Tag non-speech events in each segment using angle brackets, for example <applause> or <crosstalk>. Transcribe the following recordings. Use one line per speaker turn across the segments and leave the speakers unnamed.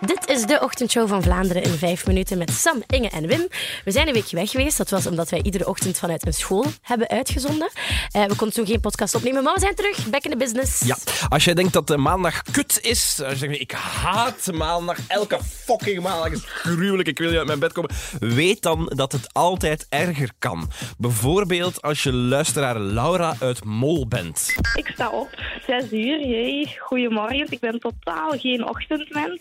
Dit is de ochtendshow van Vlaanderen in vijf minuten met Sam, Inge en Wim. We zijn een weekje weg geweest. Dat was omdat wij iedere ochtend vanuit een school hebben uitgezonden. Eh, we konden toen geen podcast opnemen, maar we zijn terug. Back in the business.
Ja, als jij denkt dat eh, maandag kut is, als je zegt, ik haat maandag, elke fucking maandag is gruwelijk, ik wil niet uit mijn bed komen, weet dan dat het altijd erger kan. Bijvoorbeeld als je luisteraar Laura uit Mol bent.
Ik sta op, 6 uur, jee, goedemorgen. Ik ben totaal geen ochtendmens.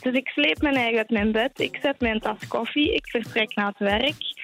Dus ik sleep mijn eigen uit mijn bed, ik zet mijn tas koffie, ik vertrek naar het werk.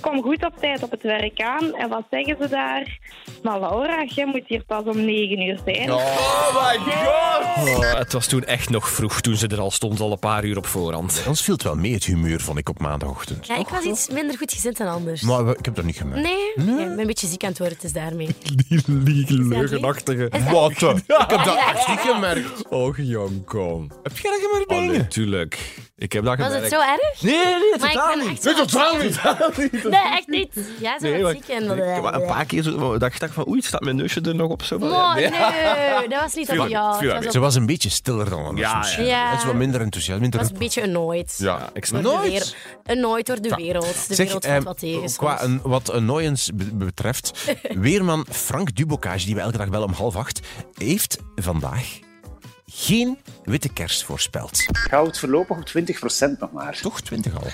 Kom goed op tijd op het werk aan. En wat zeggen ze daar? Maar Laura, jij moet hier pas om 9 uur zijn.
Oh my god! Oh, het was toen echt nog vroeg, toen ze er al stond, al een paar uur op voorhand.
Ons viel het wel mee, het humeur, vond ik, op maandagochtend.
Ja, ik was iets minder goed gezind dan anders.
Maar we- ik heb dat niet gemerkt.
Nee, nee, ik ben een beetje ziek aan het worden, het is daarmee.
<laughs> Die
Is
leugenachtige.
dat-
Wat? eh, Ik heb dat echt niet gemerkt.
Och, jong, kom.
Heb jij dat gemerkt,
Oh,
Inge?
natuurlijk. Ik heb dat
Was het
gemerkt.
zo
<laughs>
erg?
Nee, nee, nee,
Maar ik
totaal
ben
niet.
echt
Nee,
zo...
totaal
<laughs>
niet.
Nee, echt niet. Ja, zo
Nee, maar-
wat ziek en... eh,
Ik- maar een paar keer zo, dacht ik van, oei, staat mijn neusje er nog op? Zo van,
Oh,
ja, nee.
nee, dat was niet
Vuur
op
uit,
jou.
vuur
Het was,
Ze
op-
was een beetje stiller dan anders
Ja,
misschien.
ja. Ja.
Het is wat minder enthousiast. Minder...
was een beetje annoyed.
Ja, ik snap
Door de
Nooit.
wereld- Annoyed door de wereld. De wereld valt
ehm,
wat tegen soms.
qua een, wat annoyance be-
<laughs>
betreft, weerman Frank Dubocage, die we elke dag wel om half acht, heeft vandaag geen witte kerst voorspeld.
goud voorlopig op 20% nog maar.
Toch twintig al.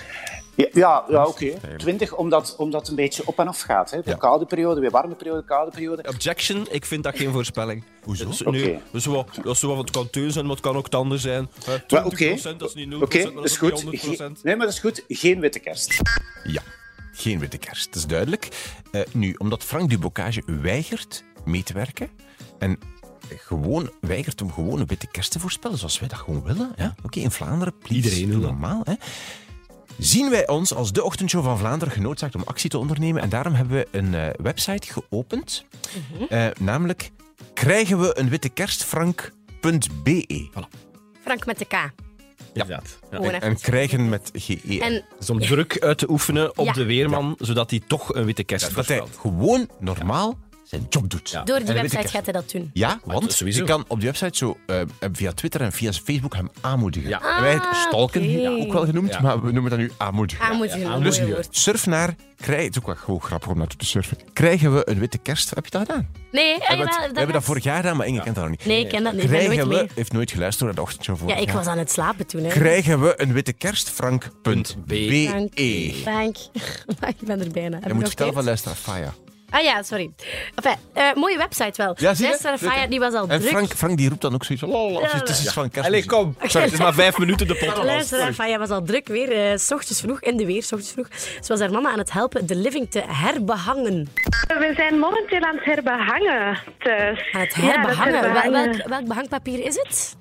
Ja, ja, ja, oké. 20 omdat, omdat het een beetje op en af gaat. Hè. De
Ja.
koude periode, weer warme periode, koude periode.
Objection, ik vind dat geen voorspelling.
Hoezo?
Dus, nee,
Oké.
dus wat, dat is wat, het kan teun zijn, maar het kan ook het ander zijn. Eh, 20%
Maar Oké,
dat is niet 0%,
Oké,
maar dat
is
is
goed.
ook niet
Ge-
100%.
nee, maar dat is goed. Geen witte kerst.
Ja, geen witte kerst, dat is duidelijk. Eh, nu, omdat Frank Dubocage weigert mee te werken en gewoon weigert om gewoon een witte kerst te voorspellen zoals wij dat gewoon willen. hè? Oké, in Vlaanderen, please,
Iedereen
doe
wil dat.
normaal. Hè? Zien wij ons als de ochtendshow van Vlaanderen genoodzaakt om actie te ondernemen en daarom hebben we een eh, website geopend,
Mhm.
Eh, namelijk krijgen we een witte kerst, Frank.be.
Frank met de K.
Inderdaad. Ja.
Gewoon even.
En krijgen met E GE.
En
Dus om druk uit te oefenen op
Ja.
de weerman, zodat hij toch een witte kerst
dat hij
voorspelt.
gewoon normaal zijn job doet.
door
En
die
een witte kerst.
website gaat hij dat doen.
Ja,
Ah, dat
want
is sowieso.
je kan op die website zo eh, via Twitter en via Facebook hem aanmoedigen.
Ja.
En wij het stalken
Ah, oké.
hier ook wel genoemd,
Ja.
maar we noemen dat nu aanmoedigen.
Aanmoedigen, een
Dus
mooi woord.
surf naar, krijg, het is ook wel gewoon grappig om naartoe te surfen. Krijgen we een witte kerst? Heb je dat gedaan?
Nee,
we
eh,
hebben, het-
jawel,
we hebben dat
net-
vorig jaar gedaan, maar Inge kent dat nog niet.
Nee, ik ken dat niet. Ik ben nooit
Krijgen we,
mee.
heeft nooit geluisterd naar de ochtendshow vorig
Ja, ik
jaar.
was aan het slapen toen. Hè.
Krijgen we een witte kerst? Frank.be.
Frank. E. Frank. <laughs> ik ben er bijna. Heb ik
Je E.
nog
moet vertellen
tijd?
van luisteraar Faya.
Ah ja, sorry. Enfin, eh, mooie website wel.
Ja, zie je?
Luisteraar
Druk,
Faya,
hè?
die was al
En
druk.
Frank, Frank die roept dan ook zoiets van... "Lol, Het is iets van kerst.
Allee, kom. Sorry, het is maar vijf minuten de podcast.
Luisteraar Faya was al druk weer, eh, s ochtends vroeg, in de weer, s ochtends vroeg. Ze was haar mama aan het helpen de living te herbehangen.
We zijn momenteel aan het herbehangen thuis.
Aan het
Ja, dat
herbehangen? Wel-
herbehangen.
welk, welk behangpapier is het?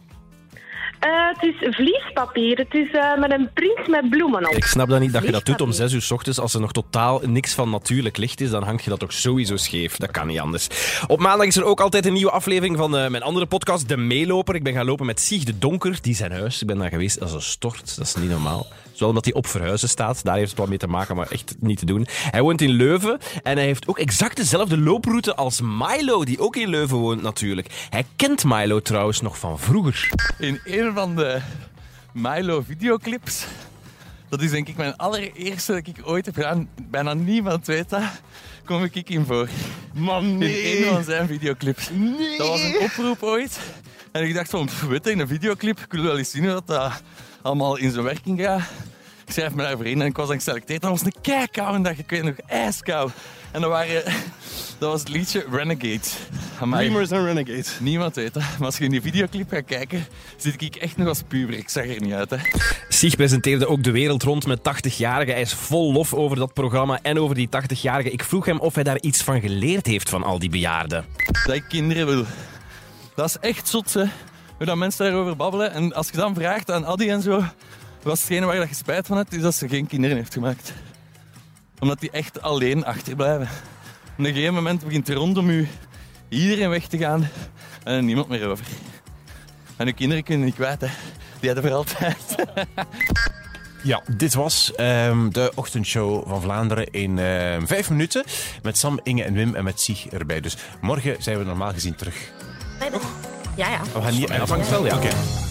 Eh, het is vliespapier. Het is eh, met een print met bloemen op.
Ik snap dat niet dat je dat doet om
Vliegpapier.
zes uur 's ochtends. Als er nog totaal niks van natuurlijk licht is, dan hangt je dat toch sowieso scheef. Dat kan niet anders. Op maandag is er ook altijd een nieuwe aflevering van eh, mijn andere podcast, De Meeloper. Ik ben gaan lopen met Sieg de Donker, die zijn huis. Ik ben daar geweest, dat is een stort. Dat is niet normaal. Zowel omdat hij op verhuizen staat, daar heeft het wat mee te maken, maar echt niet te doen. Hij woont in Leuven en hij heeft ook exact dezelfde looproute als Milo, die ook in Leuven woont natuurlijk. Hij kent Milo trouwens nog van vroeger.
in een van de Milo videoclips. Dat is denk ik mijn allereerste dat ik ooit heb gedaan. Bijna niemand weet dat. Kom ik in voor. Man, In een van zijn videoclips. Dat was een oproep ooit. En ik dacht van, pff, weet je, in een videoclip, ik wil wel eens zien hoe dat, dat allemaal in zijn werking gaat. Ik schrijf me daarvoor in en ik was dan geselecteerd. Dat was een keikoude dag, ik weet nog, ijskou. En dat, waren, dat was het liedje Renegade. Amai.
en Renegade.
Niemand weet dat. Maar als je in die videoclip gaat kijken, zit ik echt nog als puber. Ik zag er niet uit, hè.
Sieg presenteerde ook de wereld rond met 80-jarigen. Hij is vol lof over dat programma en over die 80-jarigen. Ik vroeg hem of hij daar iets van geleerd heeft van al die bejaarden.
Dat ik kinderen wil. Dat is echt zot, hè. Hoe dat mensen daarover babbelen. En als je dan vraagt aan Addy en zo, was hetgene waar dat je spijt van hebt, is dat ze geen kinderen heeft gemaakt. Omdat die echt alleen achterblijven. Op een gegeven moment begint rondom u iedereen weg te gaan en er niemand meer over. En uw kinderen kunnen niet kwijt, hè. Die hebben voor altijd.
Ja, dit was ehm, de ochtendshow van Vlaanderen in ehm, vijf minuten. Met Sam, Inge en Wim en met Sieg erbij. Dus morgen zijn we normaal gezien terug.
Ja, ja.
We gaan niet
vangt wel, ja.
Oké.